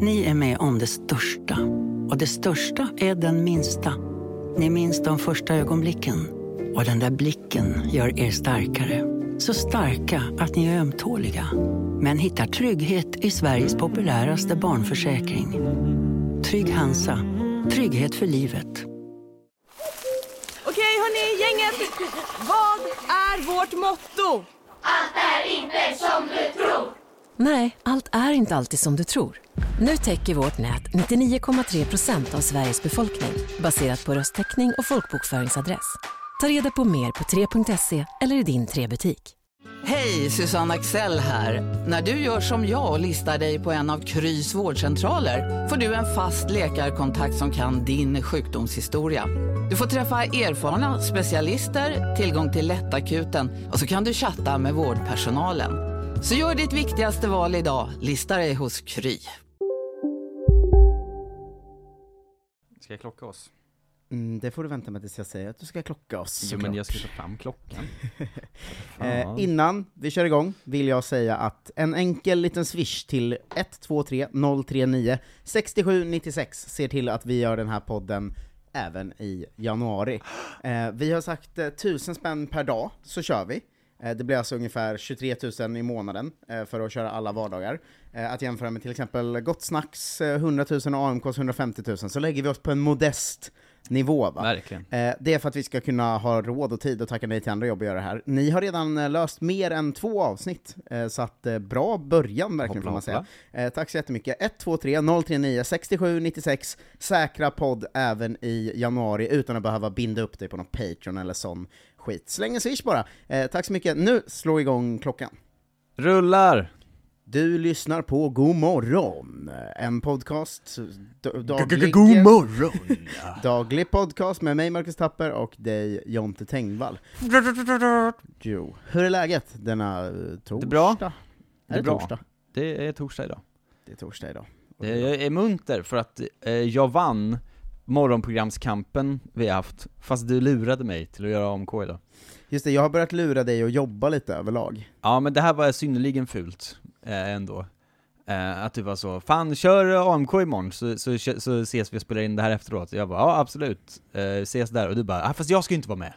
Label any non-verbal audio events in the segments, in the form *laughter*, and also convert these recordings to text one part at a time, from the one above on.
Ni är med om det största. Och det största är den minsta. Ni minns de första ögonblicken. Och den där blicken gör er starkare. Så starka att ni är ömtåliga. Men hittar trygghet i Sveriges populäraste barnförsäkring. Trygg Hansa. Trygghet för livet. Okej, hörni, gänget. Vad är vårt motto? Nej, allt är inte alltid som du tror. Nu täcker vårt nät 99,3 procent av Sveriges befolkning baserat på röstteckning och folkbokföringsadress. Ta reda på mer på 3.se eller i din 3-butik. Hej, Susanne Axel här. När du gör som jag och listar dig på en av Krys vårdcentraler får du en fast läkarkontakt som kan din sjukdomshistoria. Du får träffa erfarna specialister, tillgång till lättakuten och så kan du chatta med vårdpersonalen. Så gör ditt viktigaste val idag, listar dig hos Kry. Ska jag klocka oss? Mm, det får du vänta med tills jag säger att du ska klocka oss. Jo men såklart. jag ska ta fram klockan. Eh, Fan. innan vi kör igång vill jag säga att en enkel liten swish till 123 039 6796 ser till att vi gör den här podden även i januari. Eh, vi har sagt eh, 1000 spänn per dag, så kör vi. Eh, det blir alltså ungefär 23 000 i månaden eh, för att köra alla vardagar. Eh, att jämföra med till exempel Gott Snacks eh, 100 000 och AMKs 150 000, så lägger vi oss på en modest nivå va? Verkligen. Eh, Det är för att vi ska kunna ha råd och tid att tacka nej till andra jobb och göra det här. Ni har redan eh, löst mer än två avsnitt, eh, så att eh, bra början verkligen får man säga. Eh, Tack så jättemycket. 123 039 67 96, säkra podd även i januari utan att behöva binda upp dig på någon Patreon eller sån skit. Släng en swish bara. Eh, Tack så mycket. Nu slår vi igång klockan. Rullar! Du lyssnar på God morgon, en podcast, eh, d- daglig, morgon! daglig podcast med mig Marcus Tapper och dig Jonte Tengvall. Jo. Hur är läget denna eh, torsdag? Det är bra. Är det, bra. torsdag? Det är torsdag idag. Det är torsdag idag. Det- Jag är munter för att eh, jag vann morgonprogramskampen vi har haft, fast du lurade mig till att göra AMK idag. Just det, jag har börjat lura dig att jobba lite överlag. Ja men det här var synnerligen fult, eh, ändå. Eh, att du var så, fan kör AMK imorgon så, så, så ses vi och spelar in det här efteråt. Jag bara, ja absolut, eh, ses där. Och du bara, ah, fast jag ska ju inte vara med.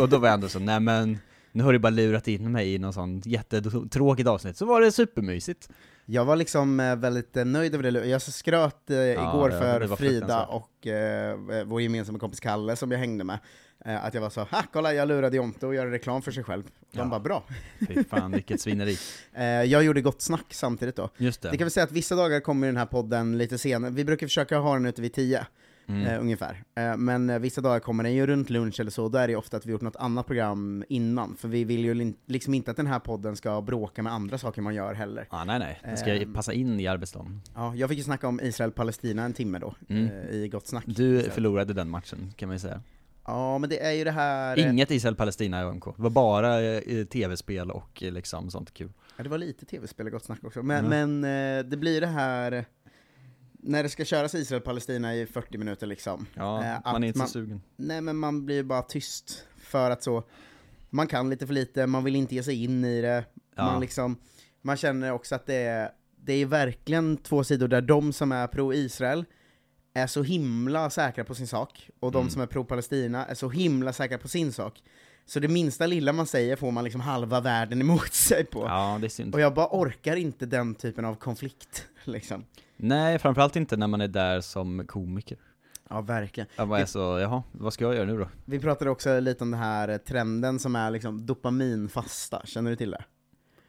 och då var jag ändå så, nej men, nu har du bara lurat in mig i någon sån jättetråkigt avsnitt. Så var det supermysigt. Jag var liksom eh, väldigt eh, nöjd över det. Jag skröt eh, igår det- det för var Frida fruktansvärt. och eh, vår gemensamma kompis Kalle som jag hängde med, eh, att jag var så ha kolla jag lurade Jonte att göra reklam för sig själv. De Ja. bara bra. Fy fan vilket svineri. Eh, jag gjorde gott snack samtidigt då. Just Det kan vi säga att vissa dagar kommer den här podden lite senare, vi brukar försöka ha den ute vid 10 Mm. eh, ungefär. Eh, men eh, vissa dagar kommer den ju runt lunch eller så, då är det ju ofta att vi gjort något annat program innan, för vi vill ju lin- liksom inte att den här podden ska bråka med andra saker man gör heller. Ah, nej nej, det ska Ehm. passa in i arbetsdagen. Ja, jag fick ju snacka om Israel-Palestina en timme då, Mm. eh, i Gott Snack. Du Så- förlorade den matchen, kan man ju säga. Ja, men det är ju det här... eh, Inget Israel-Palestina i AMK, det var bara eh, tv-spel och eh, liksom sånt kul. Ja, det var lite tv-spel och gott snack också. Men, men eh, det blir det här, när det ska köras Israel-Palestina i 40 minuter liksom. Ja, eh, att man är inte så sugen. Nej men man blir ju bara tyst, för att så, man kan lite för lite, man vill inte ge sig in i det, Ja. man liksom, man känner också att det är, det är verkligen två sidor där de som är pro-Israel är så himla säkra på sin sak, och de som är pro-Palestina är så himla säkra på sin sak. Så det minsta lilla man säger får man liksom halva världen emot sig på. Ja, det är synd. Och jag bara orkar inte den typen av konflikt, *laughs* liksom. Nej, framförallt inte när man är där som komiker. Ja, verkligen. Jag bara är så, jaha, vad ska jag göra nu då? Vi pratade också lite om den här trenden som är liksom dopaminfasta, känner du till det?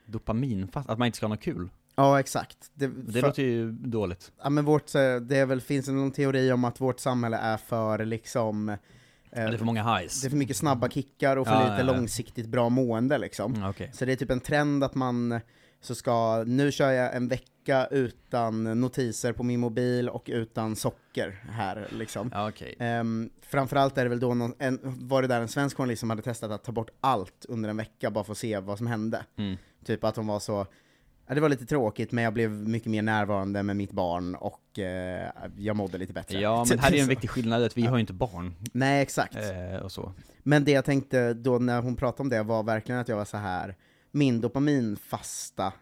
Dopaminfast, att man inte ska ha något kul. Ja, exakt. Det, Det för, låter ju dåligt. ja, men vårt, eh, det är väl, finns det någon teori om att vårt samhälle är för liksom... eh, Det är för många highs. det är för mycket snabba kickar och för Ja, lite ja, ja. långsiktigt bra mående liksom. Mm, Okej. Så det är typ en trend att man så ska, nu kör jag en vecka utan notiser på min mobil och utan socker här liksom. Ja, okej. Um, framförallt är det väl då någon, en, var det där en svensk journalist som hade testat att ta bort allt under en vecka bara för att se vad som hände. Mm. Typ att hon var så, ja, det var lite tråkigt men jag blev mycket mer närvarande med mitt barn och eh, jag mådde lite bättre. Ja, men här är ju *laughs* en Så. viktig skillnad att vi har ju inte barn, Nej exakt. eh, och så. Men det jag tänkte då när hon pratade om det var verkligen att jag var så här min dopaminfasta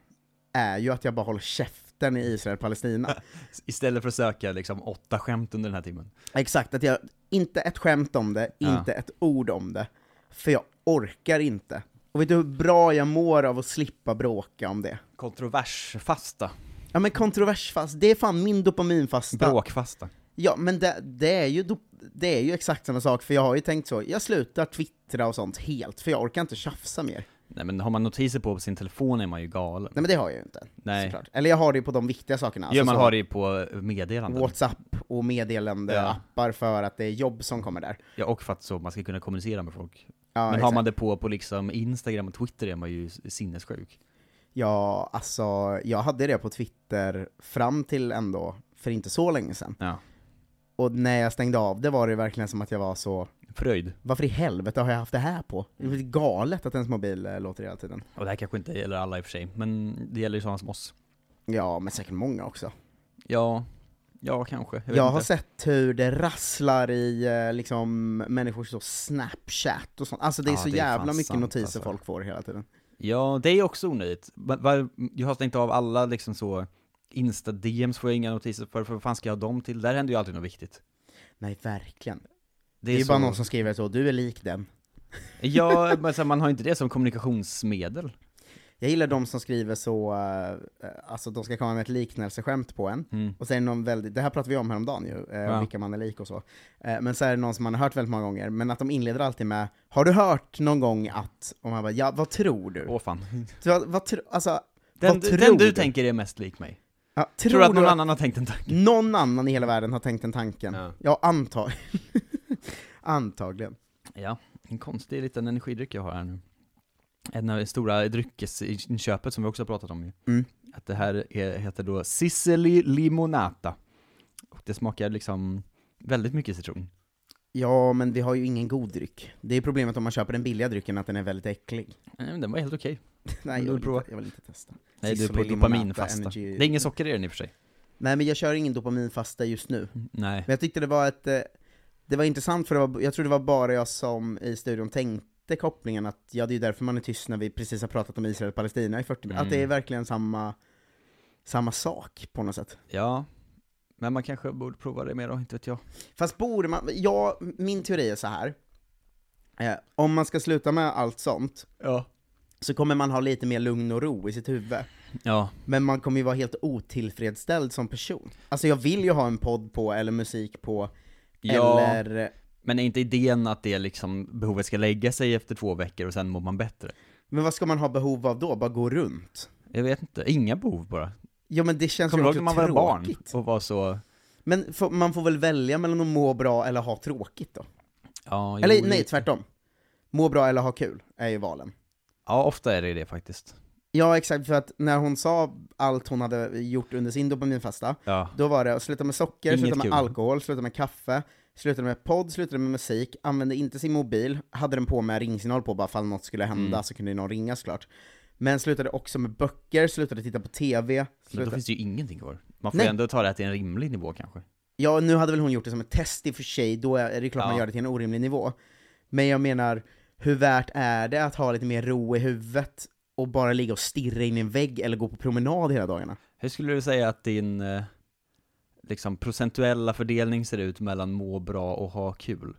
är ju att jag bara håller käft konflikten i Israel-Palestina. Istället för att söka liksom åtta skämt under den här timmen. Exakt, att jag, inte ett skämt om det, Ja. inte ett ord om det. För jag orkar inte. Och vet du hur bra jag mår av att slippa bråka om det? Kontroversfasta. Ja men kontroversfast, det är fan min dopaminfasta. Bråkfasta. Ja men det, det, är ju, dop- det är ju exakt samma sak, för jag har ju tänkt så, jag slutar twittra och sånt helt, för jag orkar inte tjafsa mer. Nej men har man notiser på, på sin telefon är man ju galen. Nej men det har jag ju inte. Nej. Såklart. Eller jag har det ju på de viktiga sakerna. Gör man så- har det ju på meddelanden. Whatsapp och meddelandeappar för att det är jobb som kommer där. Ja, och för att så man ska kunna kommunicera med folk. Ja, men har exakt. man det på, på liksom Instagram och Twitter är man ju sinnessjuk. Ja, alltså jag hade det på Twitter fram till ändå för inte så länge sedan. Ja. Och när jag stängde av det var det verkligen som att jag var så, Fröjd. varför i helvete har jag haft det här på? Det är galet att ens mobil eh, låter hela tiden. Och det här kanske inte gäller alla i och för sig, men det gäller ju sådana som oss. Ja, men säkert många också. Ja, ja kanske. Jag, Jag, har vet inte. sett hur det rasslar i eh, liksom människors så Snapchat och sånt. Alltså det är Ja, så det är fan jävla mycket sant, notiser alltså. folk får hela tiden. Ja, det är också onödigt. Va- va- Jag har stängt av alla liksom så Insta-DMs får jag inga notiser för, för vad fan ska jag ha dem till? Där händer ju alltid något viktigt. Nej, verkligen. Det Det är, ju så- bara någon som skriver så, du är lik den. Ja, men så här, man har inte det som kommunikationsmedel. Jag gillar de som skriver så, eh, alltså de ska komma med ett liknelseskämt på en, Mm. och sen någon väldigt, det här pratade vi om häromdagen ju, eh, Ja. vilka man är lik och så. Eh, men så är det någon som man har hört väldigt många gånger, men att de inleder alltid med Har du hört någon gång att, och man bara ja, vad tror du? Åh fan. Vad, vad tro, alltså, Den, vad tror den du du? tänker är mest lik mig. ja, Tror, tror att någon du att annan har tänkt en tanke? någon annan i hela världen har tänkt den tanken? Ja. Ja, antag *laughs* antagligen. Ja, en konstig liten energidryck jag har här nu. En av de stora dryckesinköpet som vi också har pratat om ju. Mm. Att det här är, heter då Sicily Limonata. Och det smakar liksom väldigt mycket citron. Ja, men vi har ju ingen god dryck. Det är problemet om man köper den billiga drycken, att den är väldigt äcklig. *laughs* Nej, men den var helt okej. Nej, du jag vill, prova? inte, jag vill inte testa. Nej, du är på Sicily Limonata dopaminfasta. Det Energy. är ingen socker i den i och för sig. Nej men jag kör ingen dopaminfasta just nu. Nej. Men jag tyckte det var ett, eh, det var intressant för det var, jag tror det var bara jag som i studion tänkte kopplingen att, ja det är ju därför man är tyst när vi precis har pratat om Israel och Palestina i 40 minuter, Mm. att det är verkligen samma, samma sak på något sätt. Ja. Men man kanske borde prova det mer då, inte vet jag. Fast borde man, ja, min teori är så här. Eh, om man ska sluta med allt sånt, Ja. så kommer man ha lite mer lugn och ro i sitt huvud. Ja. Men man kommer ju vara helt otillfredsställd som person. Alltså jag vill ju ha en podd på, eller musik på, Ja. eller Men är inte idén att det liksom, behovet ska lägga sig efter två veckor och sen mår man bättre? Men vad ska man ha behov av då? Bara gå runt? Jag vet inte, inga behov bara. Ja men det känns Kommer ju du ihåg också när man var barn tråkigt. och var så, Men får- man får väl välja mellan att må bra eller ha tråkigt då? ja, jo, eller det- nej, tvärtom. Må bra eller ha kul, är ju valen. Ja, ofta är det det faktiskt. Ja exakt, för att när hon sa allt hon hade gjort under sin dopaminfasta, Ja. då var det att sluta med socker, Inget sluta med kul. alkohol, sluta med kaffe, sluta med podd, sluta med musik, använde inte sin mobil, hade den på med ringsignal på bara fall något skulle hända Mm. så kunde någon ringa såklart. Men slutade också med böcker, slutade titta på TV, Men då slutade finns det ju ingenting kvar. Man får Nej. ju ändå ta det här till en rimlig nivå kanske. Ja, nu hade väl hon gjort det som ett test i och för sig, då är det klart Ja. man gör det till en orimlig nivå. Men jag menar, hur värt är det att ha lite mer ro i huvudet och bara ligga och stirra in i en vägg eller gå på promenad hela dagarna? Hur skulle du säga att din eh, liksom, procentuella fördelning ser ut mellan må bra och ha kul?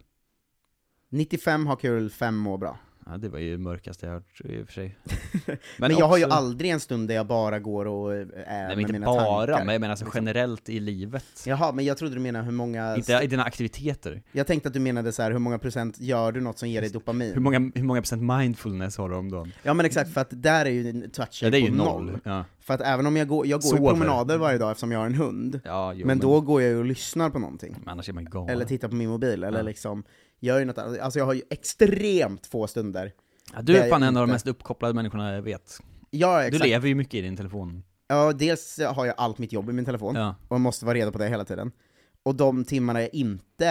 95 har kul, 5 mår bra. Ja, det var ju det mörkaste jag hört i och för sig. *laughs* Men, jag har ju också- aldrig en stund där jag bara går och eh, är Nej, med men inte mina bara, tankar. liksom. men jag menar alltså generellt i livet. Jaha, men jag trodde du menade hur många... Inte i dina aktiviteter. Jag tänkte att du menade så här, hur många procent gör du något som ger dig Hur dopamin? många, hur många procent mindfulness har du om dagen? Ja men exakt, för att där är ju touchen Ja, det är ju på noll. Ja, För att även om jag går, jag går ju Sover. promenader varje dag eftersom jag har en hund, ja jo, men då går jag ju och lyssnar på någonting. men annars är man ju galen. Eller tittar på min mobil, eller Ja. liksom gör ju något annat. Alltså jag har ju extremt få stunder. Ja, du Det är är fan en av de inte. mest uppkopplade människorna jag vet. Ja, Du exakt. lever ju mycket i din telefon. Ja, dels har jag allt mitt jobb i min telefon, Ja. och jag måste vara redo på det hela tiden. Och de timmarna jag inte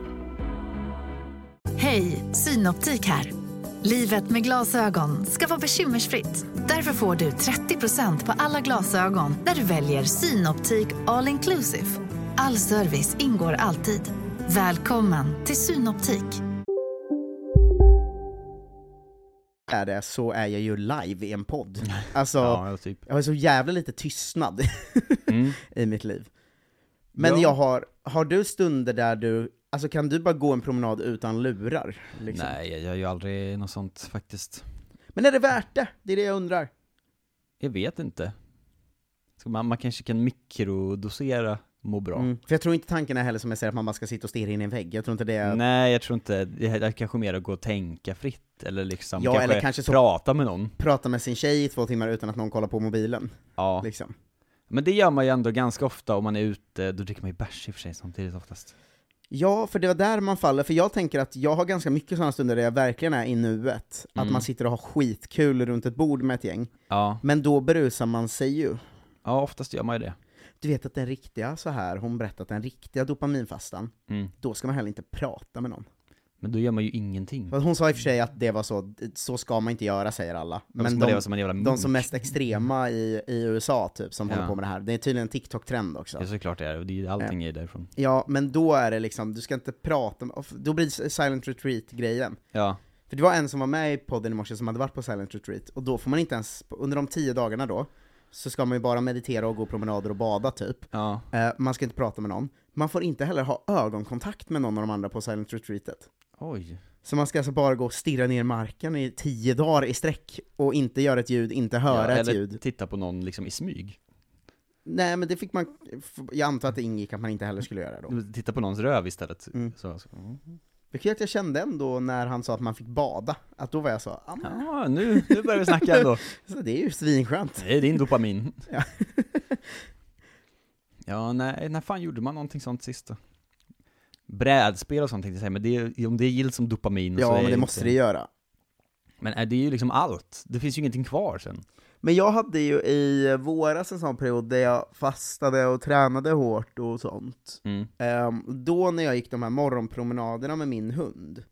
Hej, Synoptik här. Livet med glasögon ska vara bekymmersfritt. Därför får du 30% på alla glasögon när du väljer Synoptik All Inclusive. All service ingår alltid. Välkommen till Synoptik. är det så är jag ju live i en podd. Alltså, *laughs* Ja, typ. jag har så jävla lite tystnad *laughs* Mm. i mitt liv. Men Ja. jag har, har du stunder där du, alltså kan du bara gå en promenad utan lurar? Liksom? Nej, jag gör ju aldrig något sånt faktiskt. Men är det värt det? Det är det jag undrar. Jag vet inte. Så man, man kanske kan mikrodosera må bra. Mm. För jag tror inte tanken är heller som jag säger att man bara ska sitta och stirra in i en vägg, jag tror inte det är... Nej, jag tror inte, det här det här kanske mer att gå och tänka fritt, eller liksom Ja, kanske, eller kanske så- prata med någon. Prata med sin tjej i två timmar utan att någon kollar på mobilen, Ja. liksom. Men det gör man ju ändå ganska ofta om man är ute, då dricker man ju bärs i och för sig samtidigt oftast. Ja, för det var där man faller, för jag tänker att jag har ganska mycket sådana stunder där jag verkligen är i nuet. Att Mm. man sitter och har skitkul runt ett bord med ett gäng. Ja, Men då berusar man sig ju. ja oftast gör man ju det. Du vet att den riktiga, så här, hon berättat den riktiga dopaminfastan, Mm. då ska man heller inte prata med någon. Men då gör man ju ingenting. För Hon sa i och för sig att det var så, så ska man inte göra säger alla. Men Men som de, de, leva som en jävla de som munk. Mm. mest extrema i, i USA typ, som Ja. håller på med det här, det är tydligen en TikTok-trend Ja, också. såklart det är, och det är ju allting är ju därifrån. Ja, men då är det liksom, du ska inte prata, med- då blir det silent retreat-grejen. Ja, För det var en som var med i podden i morse som hade varit på silent retreat, och då får man inte ens, under de tio dagarna då, så ska man ju bara meditera och gå promenader och bada typ. ja. Eh, man ska inte prata med någon. Man får inte heller ha ögonkontakt med någon av de andra på silent retreatet. Oj. Så man ska alltså bara gå och stirra ner i marken i tio dagar i sträck och inte göra ett ljud, inte höra ja, ett eller ljud. titta på någon liksom i smyg. Nej men det fick man, jag antar att det ingick att man inte heller skulle göra då. Titta på någons röv istället. Mm. Så, så. Vilket jag kände ändå när han sa att man fick bada, att då var jag så, ah, men, Ja, nu, nu börjar vi *laughs* snacka ändå. så det är ju svinskönt. Det är din dopamin. Ja. *laughs* ja, nej, när fan gjorde man någonting sånt sist då? Brädspel och sånt tänkte jag säga, men det, är- om det gills som dopamin så Ja är men det inte- måste det göra. Men är det är ju liksom allt. Det finns ju ingenting kvar sen. Men jag hade ju i våras en sån period där jag fastade och tränade hårt och sånt. Mm. Ehm, då när jag gick de här morgonpromenaderna med min hund,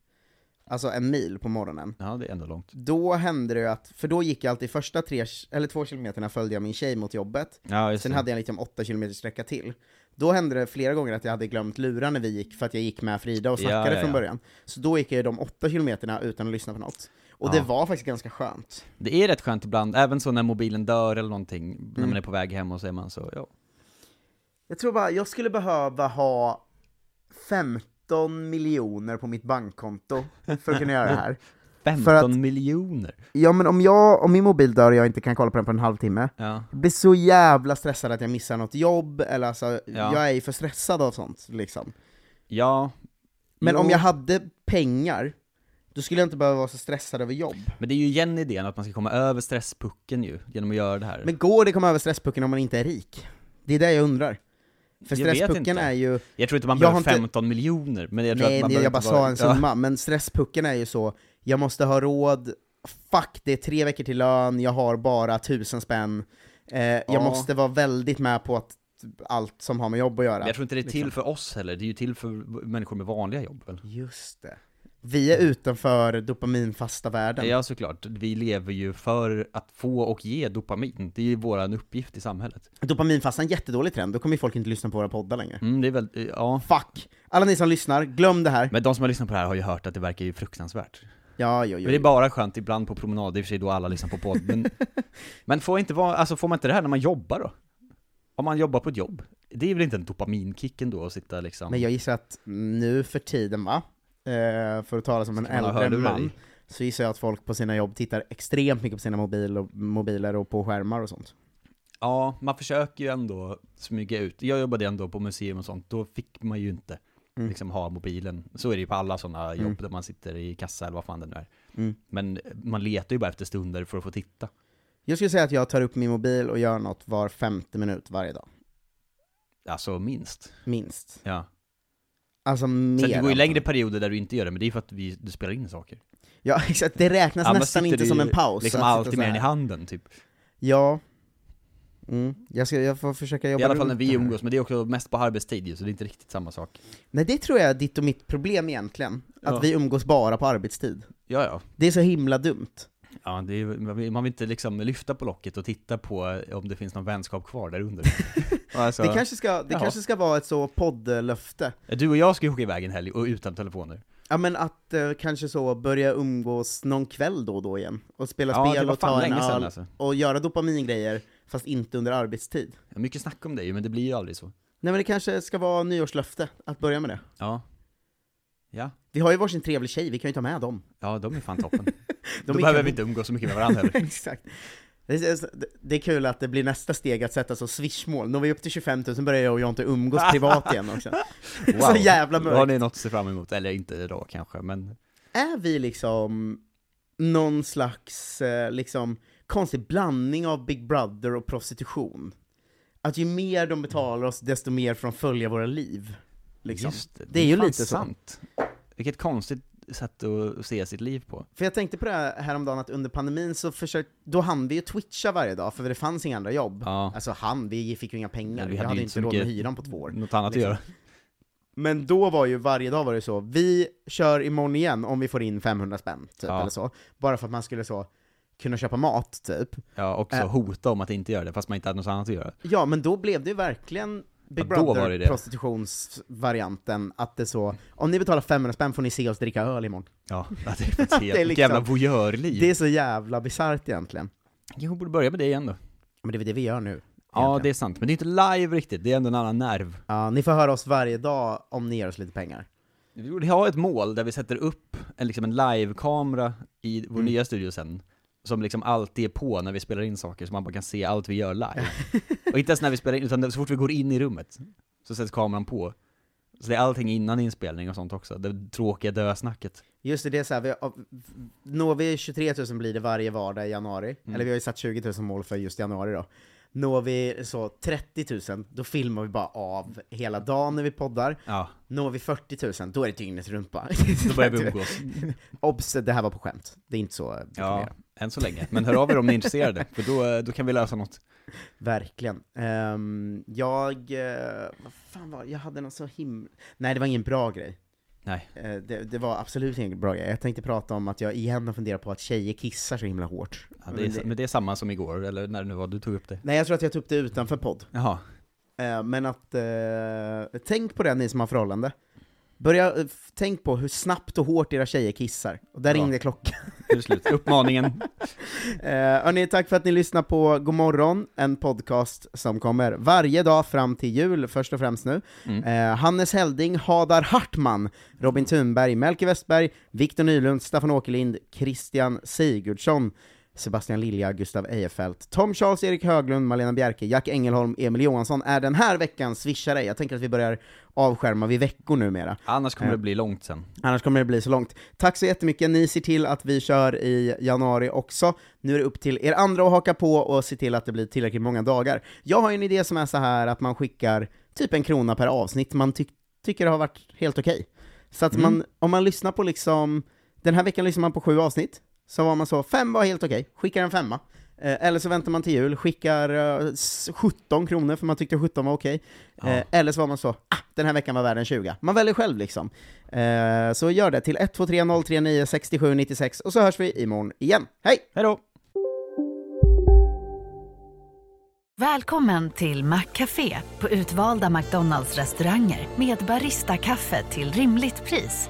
alltså en mil på morgonen, Ja, det är ändå långt. då hände det ju att, för då gick jag alltid första tre, eller två kilometerna följde jag min tjej mot jobbet, Ja, just sen det. hade jag liksom åtta kilometer sträcka till. Då hände det flera gånger att jag hade glömt lura när vi gick, för att jag gick med Frida och Ja, snackade ja, från ja. början. Så då gick jag ju de åtta kilometerna utan att lyssna på något. Och Ja. det var faktiskt ganska skönt. Det är rätt skönt ibland, även så när mobilen dör eller någonting, när Mm. man är på väg hem och så är man så, ja. Jag tror bara, jag skulle behöva ha 15 miljoner på mitt bankkonto för att kunna göra det här. 15 För att- miljoner! Ja men om, jag, om min mobil dör och jag inte kan kolla på den på en halvtimme, Ja. jag blir så jävla stressad att jag missar något jobb, eller alltså, jag är ju för stressad av sånt liksom. Ja. Men om Jo. jag hade pengar, då skulle jag inte behöva vara så stressad över jobb. Men det är ju igen idén att man ska komma över stresspucken ju, genom att göra det här. Men går det komma över stresspucken om man inte är rik? Det är det jag undrar. För Jag vet stresspucken inte. är ju, jag tror inte man jag behöver har inte- 15 miljoner, men jag tror nej att man jag, behöver jag bara inte sa vara- en summa, men stresspucken är ju så, jag måste ha råd, fuck det är tre veckor till lön, jag har bara tusen spänn, eh, jag Ja. måste vara väldigt med på att allt som har med jobb att göra. Men jag tror inte det är till liksom. för oss heller, det är ju till för människor med vanliga jobb väl? Just det. Vi är utanför dopaminfasta världen. Ja såklart, vi lever ju för att få och ge dopamin, det är ju våran uppgift i samhället. Dopaminfasta är en jättedålig trend, då kommer ju folk inte lyssna på våra poddar längre. Mm, det är väl, ja. Fuck! Alla ni som lyssnar, glöm det här. Men de som har lyssnat på det här har ju hört att det verkar ju fruktansvärt. Ja, jo, jo. Men det är bara skönt ibland på promenad, i och för sig då alla lyssnar på podd, *laughs* men, men får, inte vara, alltså får man inte det här när man jobbar då? Om man jobbar på ett jobb, det är väl inte en dopaminkick ändå att sitta liksom... Men jag gissar att nu för tiden va, eh, för att tala som en Ska man ha äldre hörlurar man, i? så gissar jag att folk på sina jobb tittar extremt mycket på sina mobil och, mobiler och på skärmar och sånt. Ja, man försöker ju ändå smyga ut. Jag jobbade ändå på museum och sånt, då fick man ju inte Mm. liksom ha mobilen. Så är det ju på alla sådana jobb där man sitter i kassa eller vad fan det nu är. Mm. Men man letar ju bara efter stunder för att få titta. Jag skulle säga att jag tar upp min mobil och gör något var femte minut varje dag. Alltså minst. Minst. Ja. Alltså mer. Sen det går ju antar längre jag. perioder där du inte gör det, men det är ju för att vi, du spelar in saker. Ja *laughs* exakt, det räknas Annars Alltså nästan sitter inte det som ju en paus. liksom att sitta alltid så med den här. i handen typ. Ja. Mm. Jag, ska, jag får försöka jobba I alla fall runt när det vi här. umgås, men det är också mest på arbetstid ju, så det är inte riktigt samma sak. Nej det tror jag är ditt och mitt problem egentligen, Ja. att vi umgås bara på arbetstid. Ja, ja. Det är så himla dumt. ja det är, man vill- man vill inte liksom lyfta på locket och titta på eh, om det finns någon vänskap kvar *laughs* där under. alltså, Det, kanske ska, det Ja. kanske ska vara ett så poddlöfte. Du och jag ska ju åka iväg en helg och utan telefoner. Ja men att eh, kanske så börja umgås någon kväll då och då igen, och spela Ja, det spel var och fan ta en länge sedan, öl, alltså. och göra dopamingrejer, fast inte under arbetstid. Ja, Mycket snack om det ju, men det blir ju aldrig så. Nej men det kanske ska vara nyårslöfte, att börja med det. Ja. Ja. Vi har ju varsin trevlig tjej, vi kan ju ta med dem. Ja, de är fan *laughs* toppen. De Då är behöver kanon. vi inte umgås så mycket med varandra heller. Exakt. Det är, det är kul att det blir nästa steg att sätta så swishmål. Når vi upp till 25 000 börjar jag och Jonte umgås *laughs* privat igen också. *laughs* Så jävla Har mörkt. ni något att se fram emot? Eller inte idag kanske, men... Är vi liksom någon slags eh, liksom, konstig blandning av Big Brother och prostitution? Att ju mer de betalar oss, desto mer får de följa våra liv. Liksom. Just det, är ju fan lite så. sant. Vilket konstigt sätt att se sitt liv på. För jag tänkte på det här häromdagen att under pandemin så försökte, då hann vi ju twitcha varje dag för det fanns inga andra jobb. Ja. Alltså han, vi fick ju inga pengar, Nej, vi, hade ju inte så råd med mycket- hyran på två år. Något annat liksom. att göra. Men då var ju varje dag var det så, vi kör imorgon igen om vi får in 500 spänn, typ, Ja. eller så. Bara för att man skulle så, kunna köpa mat, typ. Ja, och så Äh. hota om att inte göra det, fast man inte hade något annat att göra. Ja, men då blev det ju verkligen Big Ja, då var det det. Brother-prostitutionsvarianten, att det så, om ni betalar 500 spänn får ni se oss dricka öl imorgon. Ja, *laughs* *laughs* det är faktiskt helt... liksom- Vilket jävla voyeurliv. Det är så jävla bisarrt egentligen. Kanske borde börja med det igen då. Men det är det vi gör nu. Ja, det är sant. Men det är inte live riktigt, det är ändå en annan nerv. Ja, ni får höra oss varje dag om ni ger oss lite pengar. Vi borde ha ett mål där vi sätter upp en, liksom en live-kamera i vår nya studio sen, som liksom alltid är på när vi spelar in saker, så man bara kan se allt vi gör live. *laughs* och inte ens när vi spelar in, utan så fort vi går in i rummet, så sätts kameran på. Så det är allting innan inspelning och sånt också, det tråkiga dösnacket. Just det, det är så här, vi, av- når vi 23 000 blir det varje vardag i januari, Mm. eller vi har ju satt 20 000 mål för just januari då. Når vi så 30 000, då filmar vi bara av hela dagen när vi poddar. Ja, Når vi 40 000, då är det dygnet runt bara. då *laughs* börjar *laughs* vi umgås. Obs, det här var på skämt. Det är inte så det Ja, fungerar. än så länge. Men hör av er om ni är intresserade, för då, då kan vi lösa något. Verkligen. Ehm, jag, eh, vad fan var det? jag hade någon så himla... Nej, det var ingen bra grej. Nej. Eh, Det, det var absolut ingen bra grej. Jag tänkte prata om att jag igen har funderat på att tjejer kissar så himla hårt. Ja, det är, men det är samma som igår, eller när det nu var du tog upp det. Nej, jag tror att jag tog upp det utanför podd. Jaha. Eh, Men att, eh, tänk på det ni som har förhållande. Börja, eh, f- tänk på hur snabbt och hårt era tjejer kissar. Och där Ja. ringde klockan. Nu är det slut. *laughs* Uppmaningen. Eh, hörni, tack för att ni lyssnar på God morgon, en podcast som kommer varje dag fram till jul, först och främst nu. Eh, Hannes Helding, Hadar Hartman, Robin Thunberg, Melke Westberg, Viktor Nylund, Staffan Åkerlind, Christian Sigurdsson, Sebastian Lilja, Gustav Ejefeldt, Tom Charles, Erik Höglund, Malena Bjerke, Jack Engelholm, Emil Johansson är den här veckan swishare. Jag tänker att vi börjar avskärma vid veckor numera. Annars kommer det bli långt sen. Annars kommer det bli så långt. Tack så jättemycket, ni ser till att vi kör i januari också. Nu är det upp till er andra att haka på och se till att det blir tillräckligt många dagar. Jag har ju en idé som är så här att man skickar typ en krona per avsnitt man ty- tycker har varit helt okej. Så Mm. att man, om man lyssnar på liksom, den här veckan lyssnar man på sju avsnitt, så var man så, fem var helt okej, skickar en femma. Eh, Eller så väntar man till jul, skickar eh, s- 17 kronor för man tyckte 17 var okej. Eh, Eller så var man så, ah, den här veckan var värd en 20. Man väljer själv liksom. Eh, Så gör det till 123 039 67 96 och så hörs vi imorgon igen. Hej! Hej då! Välkommen till Maccafé på utvalda McDonalds restauranger med Baristakaffe till rimligt pris.